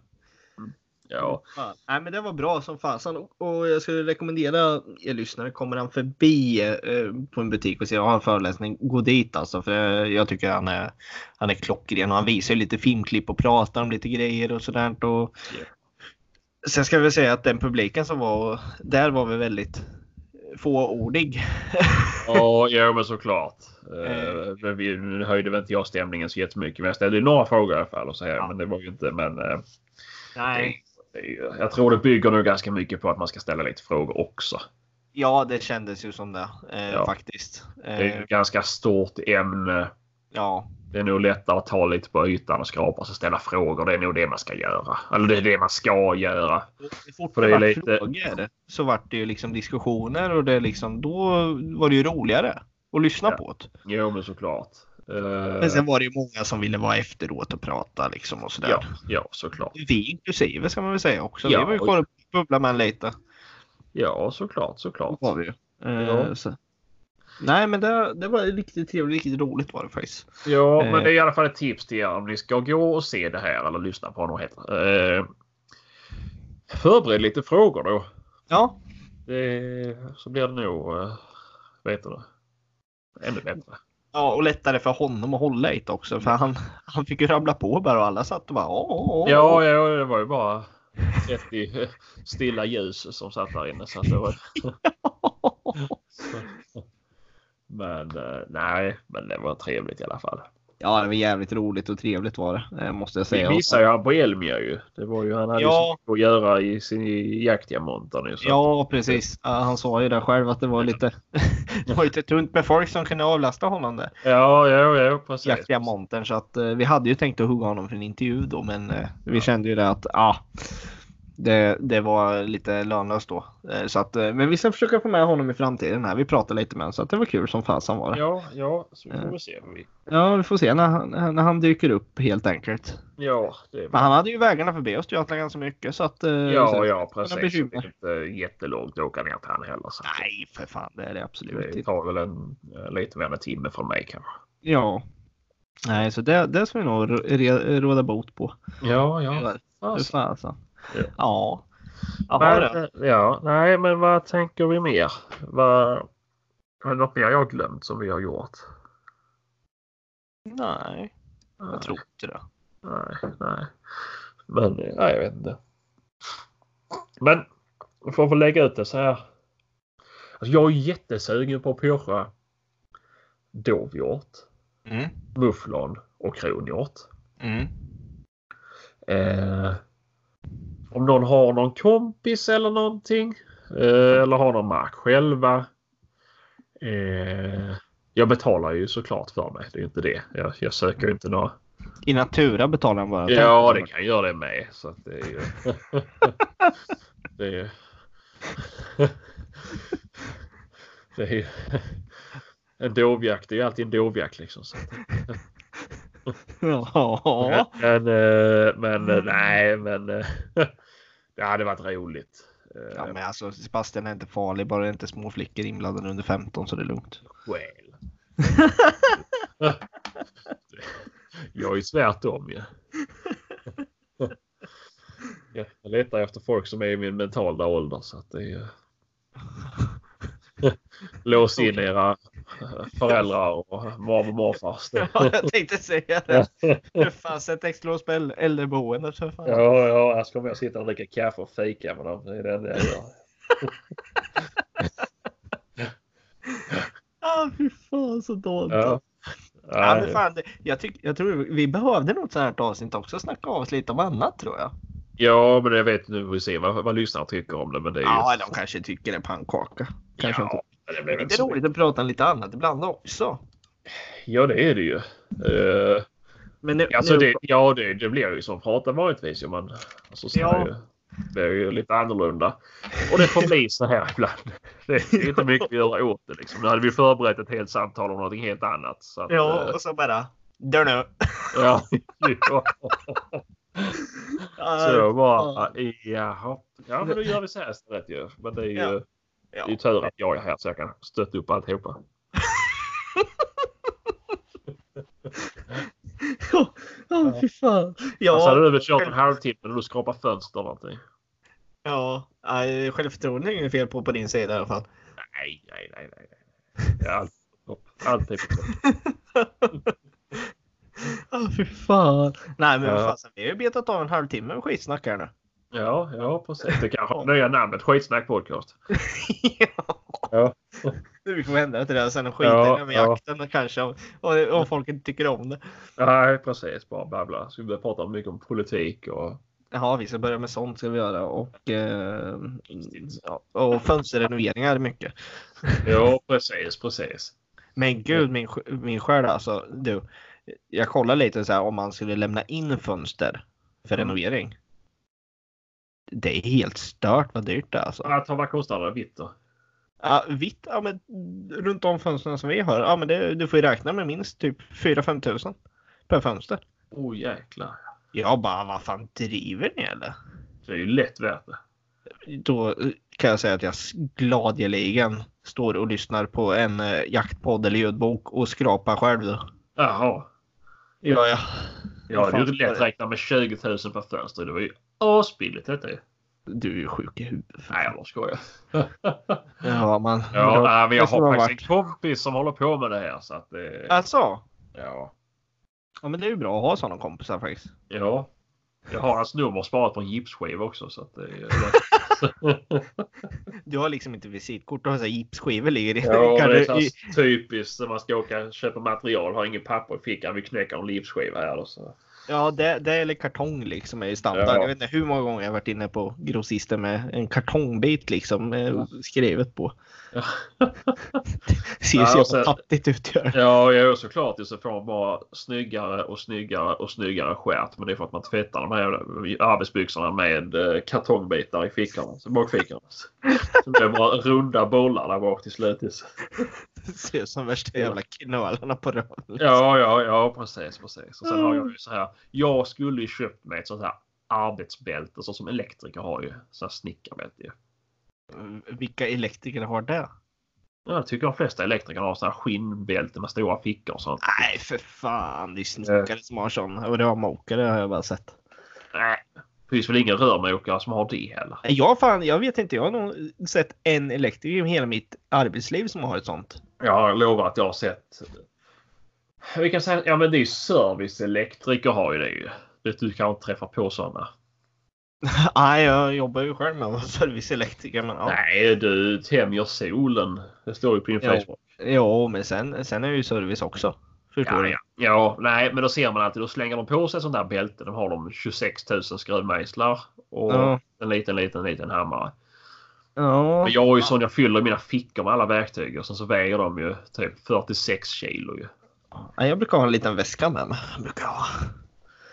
Speaker 2: Ja,
Speaker 3: Fan. Nej men det var bra som fasen och, och jag skulle rekommendera er lyssnare, kommer han förbi eh, på en butik och ser har en föreläsning, gå dit alltså. För eh, jag tycker han är, han är klockren och han visar ju lite filmklipp och pratar om lite grejer och sådant. Och...
Speaker 2: Ja.
Speaker 3: Sen ska vi säga att den publiken som var där var vi väldigt fåordig.
Speaker 2: och, ja men såklart.
Speaker 3: Eh.
Speaker 2: Eh, men vi, nu höjde väl inte jag stämningen så jättemycket. Men jag ställde ju några frågor i alla fall. Och så här,
Speaker 3: Ja.
Speaker 2: Men det var ju inte... Men, eh,
Speaker 3: Nej.
Speaker 2: det är ju- jag tror det bygger nog ganska mycket på att man ska ställa lite frågor också.
Speaker 3: Ja det kändes ju som det eh,
Speaker 2: Ja.
Speaker 3: faktiskt.
Speaker 2: Det är ju
Speaker 3: Eh,
Speaker 2: ett ganska stort ämne.
Speaker 3: ja.
Speaker 2: Det är nog lättare att ta lite på ytan och skrapa sig och ställa frågor. Det är nog det man ska göra. Eller det är det man ska göra.
Speaker 3: fort
Speaker 2: För
Speaker 3: det
Speaker 2: det är
Speaker 3: vart
Speaker 2: lite-
Speaker 3: frågor så vart det ju liksom diskussioner och det liksom, då var det ju roligare att lyssna
Speaker 2: Ja.
Speaker 3: på. Det.
Speaker 2: Jo, men såklart.
Speaker 3: Men
Speaker 2: Uh,
Speaker 3: sen var det ju många som ville vara efteråt och prata liksom och sådär.
Speaker 2: ja, ja, såklart.
Speaker 3: Vi inklusive ska man väl säga också.
Speaker 2: Ja,
Speaker 3: Vi var ju
Speaker 2: och-
Speaker 3: kvar och bubblade med en lite.
Speaker 2: Ja, såklart, såklart.
Speaker 3: Var vi ju. Eh,
Speaker 2: Ja.
Speaker 3: så. Nej men det, det var riktigt trevligt, riktigt roligt var det faktiskt.
Speaker 2: Ja,
Speaker 3: Eh.
Speaker 2: men det är i alla fall ett tips till er om ni ska gå och se det här eller lyssna på honom. Heter. Eh, förbered lite frågor då.
Speaker 3: Ja,
Speaker 2: Det, så blir det nog, eh, vet du, det, ännu bättre.
Speaker 3: ja och lättare för honom att hålla i det också för han, han fick ju ramla på bara och alla satt och bara åh, åh, åh.
Speaker 2: Ja, ja, det var ju bara 30 stilla ljus som satt där inne. Så att det var... Men eh, nej, men det var trevligt i alla fall.
Speaker 3: ja, det var jävligt roligt och trevligt var det eh, måste jag säga.
Speaker 2: Vi missade ju han på Elmia ju. Det var ju han hade ju
Speaker 3: Ja.
Speaker 2: så mycket att göra i sin i jaktdiamanter nu. Så.
Speaker 3: Ja, precis. Ja, Han sa ju det själv att det var lite, det var lite tunt med folk som kunde avlasta honom där.
Speaker 2: ja, ja, ja, precis.
Speaker 3: Jaktdiamanten. Så att eh, vi hade ju tänkt att hugga honom för en intervju då, men eh, vi
Speaker 2: Ja.
Speaker 3: kände ju det att ah, det Det, det var lite lönlöst då. Eh, Så att, eh, men vi ska försöka få med honom i framtiden här. Vi pratade lite med honom så att det var kul som fasen var det.
Speaker 2: Ja, ja, så vi får vi se. Vi-
Speaker 3: Ja, vi får se när han, när han dyker upp helt enkelt.
Speaker 2: Ja, det är
Speaker 3: Men han hade ju vägarna förbi Östergötland ganska mycket så att... eh, så-
Speaker 2: Ja, ja,
Speaker 3: några
Speaker 2: precis.
Speaker 3: bekymmer.
Speaker 2: Det är inte jättelångt att åka ner till han heller. Så
Speaker 3: Nej, för fan det är det absolut
Speaker 2: det
Speaker 3: inte.
Speaker 2: tar väl en, eh, lite mer än en timme från mig kanske.
Speaker 3: Ja. Nej, så det, det ska vi nog re- råda bot på.
Speaker 2: Ja,
Speaker 3: Hur
Speaker 2: Fast,
Speaker 3: fasen.
Speaker 2: Ja.
Speaker 3: Ja. Jaha,
Speaker 2: men,
Speaker 3: du.
Speaker 2: eh, ja, nej, men vad tänker vi mer? Vad, har det något mer jag har glömt som vi har gjort?
Speaker 3: Nej, jag tror inte det.
Speaker 2: Nej, nej. Men eh, nej, jag vet inte. Men för att få lägga ut det så här. Alltså, jag är jättesugen på att pyra dovhjort,
Speaker 3: Mm.
Speaker 2: mufflon och kronhjort.
Speaker 3: Mm.
Speaker 2: Eh, om någon har någon kompis eller någonting. Eh, eller har någon mark själva. Eh, jag betalar ju såklart för mig. Det är ju inte det. Jag, jag söker ju inte några.
Speaker 3: I Natura betalar han bara.
Speaker 2: Ja, det kan jag göra det med. Så att det är ju... det är ju... det är ju... En dovjakt, det är ju alltid en dovjakt liksom. Så. att-
Speaker 3: Ja.
Speaker 2: Men, eh, men eh, nej, men eh, det hade varit roligt. Eh,
Speaker 3: ja, men alltså Sebastian är inte farlig bara det är inte små flickor inblandade under 15 så det är lugnt.
Speaker 2: Well. jag är ju tvärtom ju. Jag jag letar efter folk som är i min mentala ålder så att det är... ju- Lås in era föräldrar och mormor och morfars.
Speaker 3: Ja,
Speaker 2: Det-
Speaker 3: jag tänkte säga det. Hur fan, sätt extra på äl- äldreboendet alltså, för fan.
Speaker 2: Ja, ja, här kommer jag sitta och dricka kaffe och fika med dem. Det är det enda jag gör.
Speaker 3: Ah, fy fan så dåligt.
Speaker 2: Ja.
Speaker 3: Ja,
Speaker 2: Ja,
Speaker 3: men fan, det- jag, tyck, jag tror vi behövde något sånt här avsnitt också. Snacka av oss lite om annat tror jag.
Speaker 2: ja, men jag vet nu får vi se vad, vad lyssnarna tycker om det. Men det är ju...
Speaker 3: Ja, de kanske tycker det är pannkaka. Kanske inte.
Speaker 2: ja, men det blev
Speaker 3: Det
Speaker 2: inte
Speaker 3: är
Speaker 2: så
Speaker 3: roligt att prata om lite annat ibland också.
Speaker 2: Ja, det är det ju. Eh,
Speaker 3: Men nu,
Speaker 2: alltså
Speaker 3: nu,
Speaker 2: det, ja, det, det blir ju som pratar vanligtvis. ju, men alltså, så
Speaker 3: Ja.
Speaker 2: är ju, det är ju lite annorlunda. Och det får bli så här ibland. Det är inte mycket att göra åt det. Liksom. Nu hade vi förberett ett helt samtal om någonting helt annat. Så att,
Speaker 3: Ja,
Speaker 2: eh,
Speaker 3: och så bara... Dör nu.
Speaker 2: ja, ja. Så jag bara, jaha. Ja, men då gör vi så här istället ju. Men det är ju,
Speaker 3: Ja.
Speaker 2: Det är ju tur att jag är här så jag kan stötta upp alltihopa.
Speaker 3: Ja, ja, fy fan. Ja,
Speaker 2: Alltså hade du väl kört en halvtimme och du skrapar fönster eller någonting.
Speaker 3: ja. Nej, självförtroende är inget fel på på din sida i alla fall.
Speaker 2: Nej, nej, nej, nej. nej. Ja, allt på topp. Allt är på topp.
Speaker 3: Ja, fy fan. Nej, men
Speaker 2: Ja.
Speaker 3: vad fasen, vi har ju betat av en halvtimme med skitsnack här nu.
Speaker 2: Ja, ja, precis. Det kanske har nya namnet. Skitsnack podcast. Ja.
Speaker 3: Nu, Vi får ändra till det här sen och skita
Speaker 2: Ja,
Speaker 3: i den med
Speaker 2: ja.
Speaker 3: jakten kanske. Om, om, om folk inte tycker om det.
Speaker 2: Nej, precis. Bara babbla. Ska vi börja prata mycket om politik och...
Speaker 3: Ja, vi ska börja med sånt ska vi göra och, eh, ja, och fönsterrenoveringar är mycket.
Speaker 2: Ja, precis, precis.
Speaker 3: Men gud min, sj- min själ alltså. Du, jag kollar lite så här om man skulle lämna in fönster för
Speaker 2: Mm.
Speaker 3: renovering. Det är helt stört vad dyrt det är alltså.
Speaker 2: Att vad kostar det? Vitt då?
Speaker 3: Ja, vitt, ja men runt om fönstren som vi har. Ja men det, du får ju räkna med minst typ 4-5 tusen per fönster.
Speaker 2: Åh oh, jäklar.
Speaker 3: Jag bara vad fan driver ni eller?
Speaker 2: Det är ju lätt värt det.
Speaker 3: då eh, kan jag säga att jag s- gladeligen står och lyssnar på en eh, jaktpodd eller ljudbok och skrapar själv. Då.
Speaker 2: Jaha.
Speaker 3: Ja, ja.
Speaker 2: Ja, det är ju
Speaker 3: Fan,
Speaker 2: lätt att räkna med 20 000 per fönster. Det var ju asbilligt detta ju.
Speaker 3: Du är ju sjuk i huvudet.
Speaker 2: Nej, jag bara skojar.
Speaker 3: Ja, man.
Speaker 2: Ja, nej, men jag
Speaker 3: det skulle
Speaker 2: har
Speaker 3: ha
Speaker 2: faktiskt en kompis som håller på med det här så att det...
Speaker 3: Alltså,
Speaker 2: Ja.
Speaker 3: ja, men det är ju bra att ha sådana kompisar faktiskt.
Speaker 2: Ja. Jag har hans nummer sparat på en gipsskiva också så att eh, det... är-
Speaker 3: Du har liksom inte visitkort, du har så här gipsskivor ligger i.
Speaker 2: Ja,
Speaker 3: kan
Speaker 2: det är så
Speaker 3: du, i
Speaker 2: här typiskt när man ska åka och köpa material. Har ingen papper i fickan. Vi knäcker en gipsskiva här. Och så.
Speaker 3: Ja, det, det eller kartong liksom är ju standard.
Speaker 2: Ja.
Speaker 3: Jag vet inte hur många gånger jag varit inne på grossisten med en kartongbit liksom eh, skrivet på.
Speaker 2: Ja.
Speaker 3: Ser
Speaker 2: Ja, alltså-
Speaker 3: så
Speaker 2: och sen-
Speaker 3: jävla fattigt ut. gör det.
Speaker 2: Ja, jag är såklart så får man bara snyggare och snyggare och snyggare skärp. Men det är för att man tvättar de här jävla arbetsbyxorna med eh, kartongbitar i fickorna, så bakfickorna. Så det blir bara runda bollar där bak till slut.
Speaker 3: Det Ser ut som värsta jävla knölarna på röven. liksom.
Speaker 2: Ja, ja, ja, precis, precis. Och sen har
Speaker 3: Mm.
Speaker 2: jag ju så här. Jag skulle ju köpt mig ett sånt här arbetsbälte så som elektriker har ju. Så här snickarbälte ju.
Speaker 3: Vilka elektriker har det?
Speaker 2: Ja, Jag tycker de flesta elektriker har så här skinnbälte med stora fickor och sånt.
Speaker 3: Nej, för fan. Det är snickare som har sån. Och det har mokare har jag bara sett.
Speaker 2: Nej, det Äh, finns väl ingen rörmokare som har det heller.
Speaker 3: Nej, Jag, fan, jag vet inte. Jag har nog sett en elektriker i hela mitt arbetsliv som har ett sånt.
Speaker 2: Jag lovar att jag har sett. Vi kan säga, ja men det är ju serviceelektriker har ju det ju. Det du kan inte träffa på sådana.
Speaker 3: Nej, jag jobbar ju själv med att vara serviceelektriker. Men, ja.
Speaker 2: Nej du, tämjer solen. Det står ju på din
Speaker 3: Ja,
Speaker 2: Facebook.
Speaker 3: Jo, men sen, sen är ju service också. Förstår
Speaker 2: Ja,
Speaker 3: du?
Speaker 2: ja. ja, nej men då ser man alltid. Då slänger de på sig sånt där bälte. De har de 26 000 skruvmejslar. Och
Speaker 3: Ja.
Speaker 2: en liten, liten, liten hammare.
Speaker 3: Ja.
Speaker 2: Men jag är ju sån jag fyller mina fickor med alla verktyg. Och sen så väger de ju typ 46 kilo ju.
Speaker 3: Nej, Jag brukar ha en liten väska med mig. Jag brukar ha.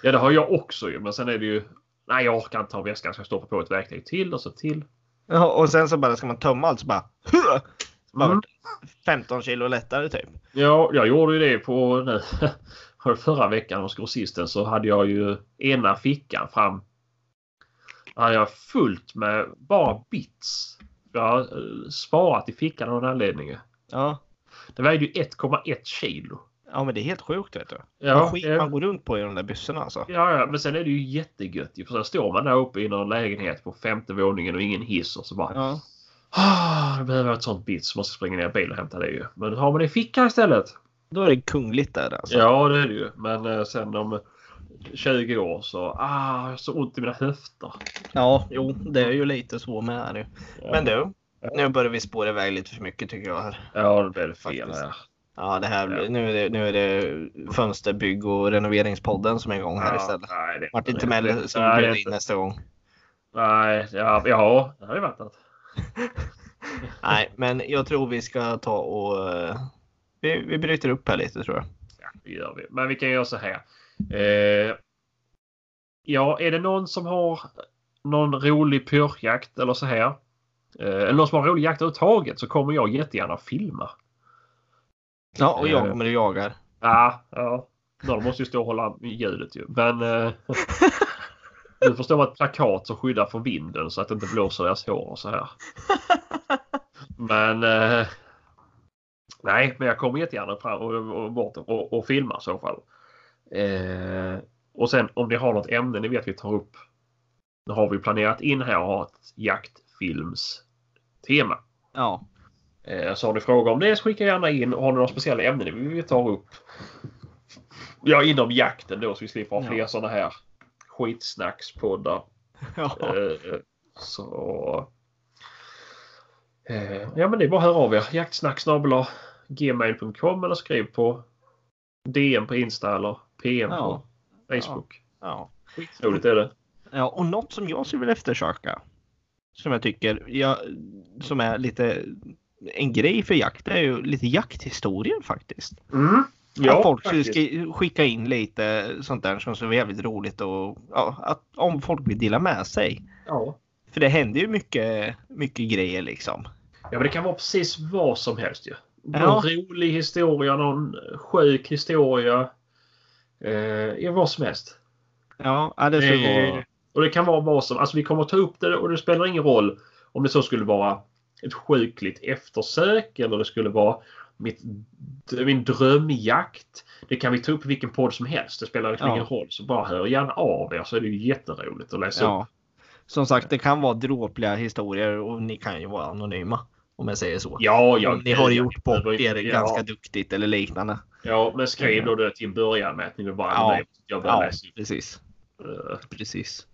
Speaker 2: Ja det har jag också ju. Men sen är det ju. Nej jag orkar inte ta väskan. Så jag stoppar på ett verktyg till och så till.
Speaker 3: Ja, och sen så bara ska man tömma allt så bara... Så bara
Speaker 2: Mm.
Speaker 3: 15 kilo lättare typ.
Speaker 2: Ja, jag gjorde ju det på nu. för Förra veckan hos grossisten så hade jag ju ena fickan fram. Där hade jag fullt med bara bits. Jag har eh, sparat i fickan av någon anledning. ju.
Speaker 3: Ja.
Speaker 2: Det vägde ju 1,1 kilo.
Speaker 3: ja, men det är helt sjukt vet du.
Speaker 2: Ja,
Speaker 3: Vad skit
Speaker 2: eh,
Speaker 3: man går runt på i de där byxorna alltså.
Speaker 2: ja, ja, men sen är det ju jättegött. ju, För sen står man där uppe i någon lägenhet på femte våningen och ingen hiss och så bara.
Speaker 3: Ja.
Speaker 2: Ah, jag behöver ett sånt bits så måste jag springa ner i bilen och hämta det ju. Men har man det i fickan istället.
Speaker 3: Då är det kungligt där alltså.
Speaker 2: Ja, det är det ju. Men eh, sen om 20 år så... Ah, jag har så ont i mina höfter.
Speaker 3: Ja, jo, det är ju lite så med nu. Men du, nu börjar vi spåra iväg lite för mycket tycker jag. här.
Speaker 2: Ja, det blev fel
Speaker 3: Faktiskt.
Speaker 2: här.
Speaker 3: Ja, det här blir, nu, är det, nu är det fönsterbygg och renoveringspodden som är igång här
Speaker 2: Ja,
Speaker 3: istället.
Speaker 2: nej, det är
Speaker 3: Martin
Speaker 2: inte
Speaker 3: Timell
Speaker 2: riktigt.
Speaker 3: som
Speaker 2: Nej, det är
Speaker 3: bjuder in
Speaker 2: inte-
Speaker 3: nästa gång.
Speaker 2: Nej, ja, ja, det hade ju varit något.
Speaker 3: Nej, men jag tror vi ska ta och... eh, Vi, vi bryter upp här lite tror jag.
Speaker 2: Ja, det gör vi. Men vi kan göra så här. Eh, ja, är det någon som har någon rolig pyrschjakt eller så här? Eh, eller någon som har rolig jakt överhuvudtaget så kommer jag jättegärna filma.
Speaker 3: Ja, och jag
Speaker 2: Eh.
Speaker 3: kommer och jagar.
Speaker 2: Ja, ja. Någon måste ju stå och hålla i ljudet ju. Men... Eh, du förstår att plakat som skyddar från vinden så att det inte blåser deras hår och så här. Men... Eh, nej, men jag kommer jättegärna fram och, och bort och, och filmar i så fall. Eh, och sen om ni har något ämne ni vet vi tar upp. Då har vi planerat in här att ha ett jaktfilmstema.
Speaker 3: Ja,
Speaker 2: Eh, Så har ni frågor om det så skicka gärna in. Har ni några speciella ämnen ni vill ta upp? Ja, inom jakten då så vi slipper ha
Speaker 3: Ja.
Speaker 2: fler sådana här skitsnackspoddar.
Speaker 3: ja.
Speaker 2: Eh, Så... eh, Ja, men det är bara att höra av er. Jaktsnacksnabel gmail.com eller skriv på DM på Insta eller PM
Speaker 3: Ja.
Speaker 2: på Facebook.
Speaker 3: ja.
Speaker 2: Roligt är det.
Speaker 3: ja och något som jag skulle vilja eftersöka. Som jag tycker, jag, som är lite en grej för jakt, det är ju lite jakthistorier faktiskt. att Mm. folk
Speaker 2: faktiskt.
Speaker 3: ska skicka in lite sånt där som så är jävligt roligt och ja, att om folk vill dela med sig.
Speaker 2: ja.
Speaker 3: För det händer ju mycket, mycket grejer liksom.
Speaker 2: Ja, men det kan vara precis vad som helst ju. Någon
Speaker 3: Ja.
Speaker 2: rolig historia, någon sjuk historia. Eh, ja, vad som helst.
Speaker 3: Ja, ja, det skulle
Speaker 2: Eh,
Speaker 3: vara.
Speaker 2: Och det kan vara vad som Alltså vi kommer ta upp det och det spelar ingen roll om det så skulle vara ett sjukligt eftersök eller det skulle vara mitt, min drömjakt. Det kan vi ta upp i vilken podd som helst. Det spelar liksom
Speaker 3: Ja.
Speaker 2: ingen roll. Så bara hör gärna av er så är det ju jätteroligt att läsa upp.
Speaker 3: Ja. Som sagt, det kan vara dråpliga historier och ni kan ju vara anonyma. Om jag säger så.
Speaker 2: Ja, ja.
Speaker 3: om ni har
Speaker 2: gud,
Speaker 3: gjort bort er
Speaker 2: ja.
Speaker 3: ganska duktigt eller liknande.
Speaker 2: Ja, men skriv då det till en början med att ni vill vara
Speaker 3: Ja.
Speaker 2: anonym. Jag börjar
Speaker 3: Ja,
Speaker 2: läsa upp
Speaker 3: precis.
Speaker 2: eh,
Speaker 3: precis.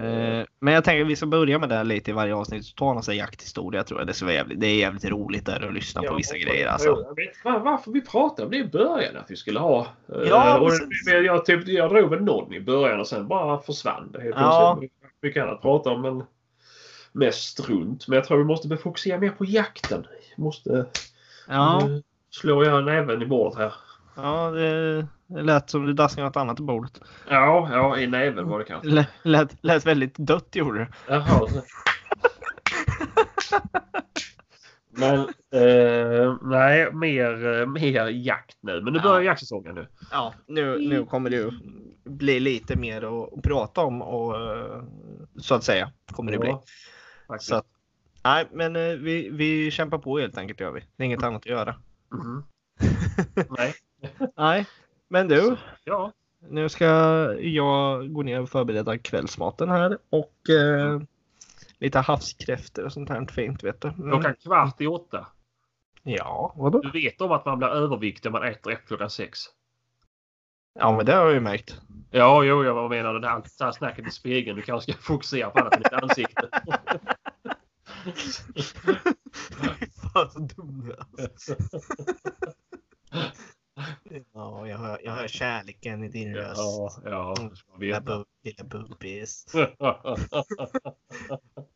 Speaker 3: Eh, Men jag tänker att vi ska börja med det här lite i varje avsnitt. Så tar han sig jakthistoria tror jag. Det, ska vara jävligt, det är jävligt roligt där att lyssna på vissa grejer. Alltså.
Speaker 2: Jag vet inte var- varför vi pratade om det i början att vi skulle ha. eh,
Speaker 3: Ja,
Speaker 2: och
Speaker 3: precis.
Speaker 2: jag, jag, typ, jag drog väl någon i början och sen bara försvann det helt
Speaker 3: Ja.
Speaker 2: plötsligt. Mycket annat att prata om men mest runt. Men jag tror vi måste fokusera mer på jakten. Vi måste
Speaker 3: Ja,
Speaker 2: eh, slå jag näven i bordet här.
Speaker 3: ja det det lät som du daskade något annat i bordet.
Speaker 2: Ja, ja i näven var det kanske.
Speaker 3: Lät, lät, lät väldigt dött gjorde det.
Speaker 2: Jaha. så- Men eh, nej, mer, eh, mer jakt nu. Men nu
Speaker 3: Ja.
Speaker 2: börjar jaktsäsongen nu.
Speaker 3: Ja, nu, nu kommer det ju bli lite mer att, att prata om och eh, så att säga. Kommer det bli.
Speaker 2: Ja, faktiskt.
Speaker 3: Så att, nej, men eh, vi, vi kämpar på helt enkelt gör vi. Det är inget annat att göra.
Speaker 2: Mhm. Nej.
Speaker 3: Nej, men du.
Speaker 2: Ja.
Speaker 3: Nu ska jag gå ner och förbereda kvällsmaten här och eh, lite havskräftor och sånt här fint vet du. Mm.
Speaker 2: Klockan kvart i åtta.
Speaker 3: Ja, vadå?
Speaker 2: Du vet om att man blir överviktig om man äter efter klockan sex.
Speaker 3: Ja, men det har jag ju märkt.
Speaker 2: Ja, jo, jag vad menar det här, det här snacket i spegeln. Du kanske ska fokusera på annat än ditt ansikte.
Speaker 3: Fan så dum du är. Ja, jag hör, jag hör kärleken i din röst.
Speaker 2: Ja, ja. du ska
Speaker 3: Lilla,
Speaker 2: veta.
Speaker 3: bu- lilla bubbis.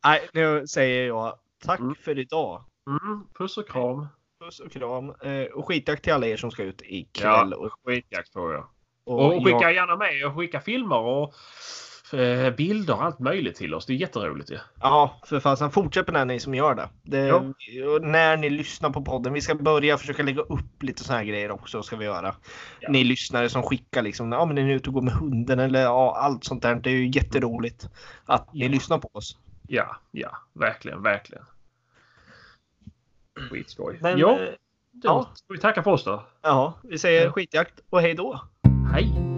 Speaker 3: Nej, nu säger jag tack
Speaker 2: Mm.
Speaker 3: för idag.
Speaker 2: Mm, puss och kram.
Speaker 3: Puss och kram. Eh, och skitjakt till alla er som ska ut ikväll. Och,
Speaker 2: Skitjakt på er.
Speaker 3: och,
Speaker 2: Och skicka gärna med och skicka filmer och eh, bilder och allt möjligt till oss. Det är jätteroligt ju.
Speaker 3: Ja, för fasen. Fortsätt med det ni som gör det. det
Speaker 2: Ja.
Speaker 3: och när ni lyssnar på podden. Vi ska börja försöka lägga upp lite såna här grejer också. Ska vi göra.
Speaker 2: Ja.
Speaker 3: Ni lyssnare som skickar liksom. Ja, men ni är ute och går med hunden eller ja, allt sånt där. Det är ju jätteroligt att ni lyssnar på oss.
Speaker 2: Ja, ja. Verkligen, verkligen. Skitskoj.
Speaker 3: Men,
Speaker 2: ja,
Speaker 3: eh,
Speaker 2: då
Speaker 3: ja.
Speaker 2: ska vi tacka för oss då.
Speaker 3: ja, vi säger
Speaker 2: Ja.
Speaker 3: skitjakt och hej då.
Speaker 2: Hej!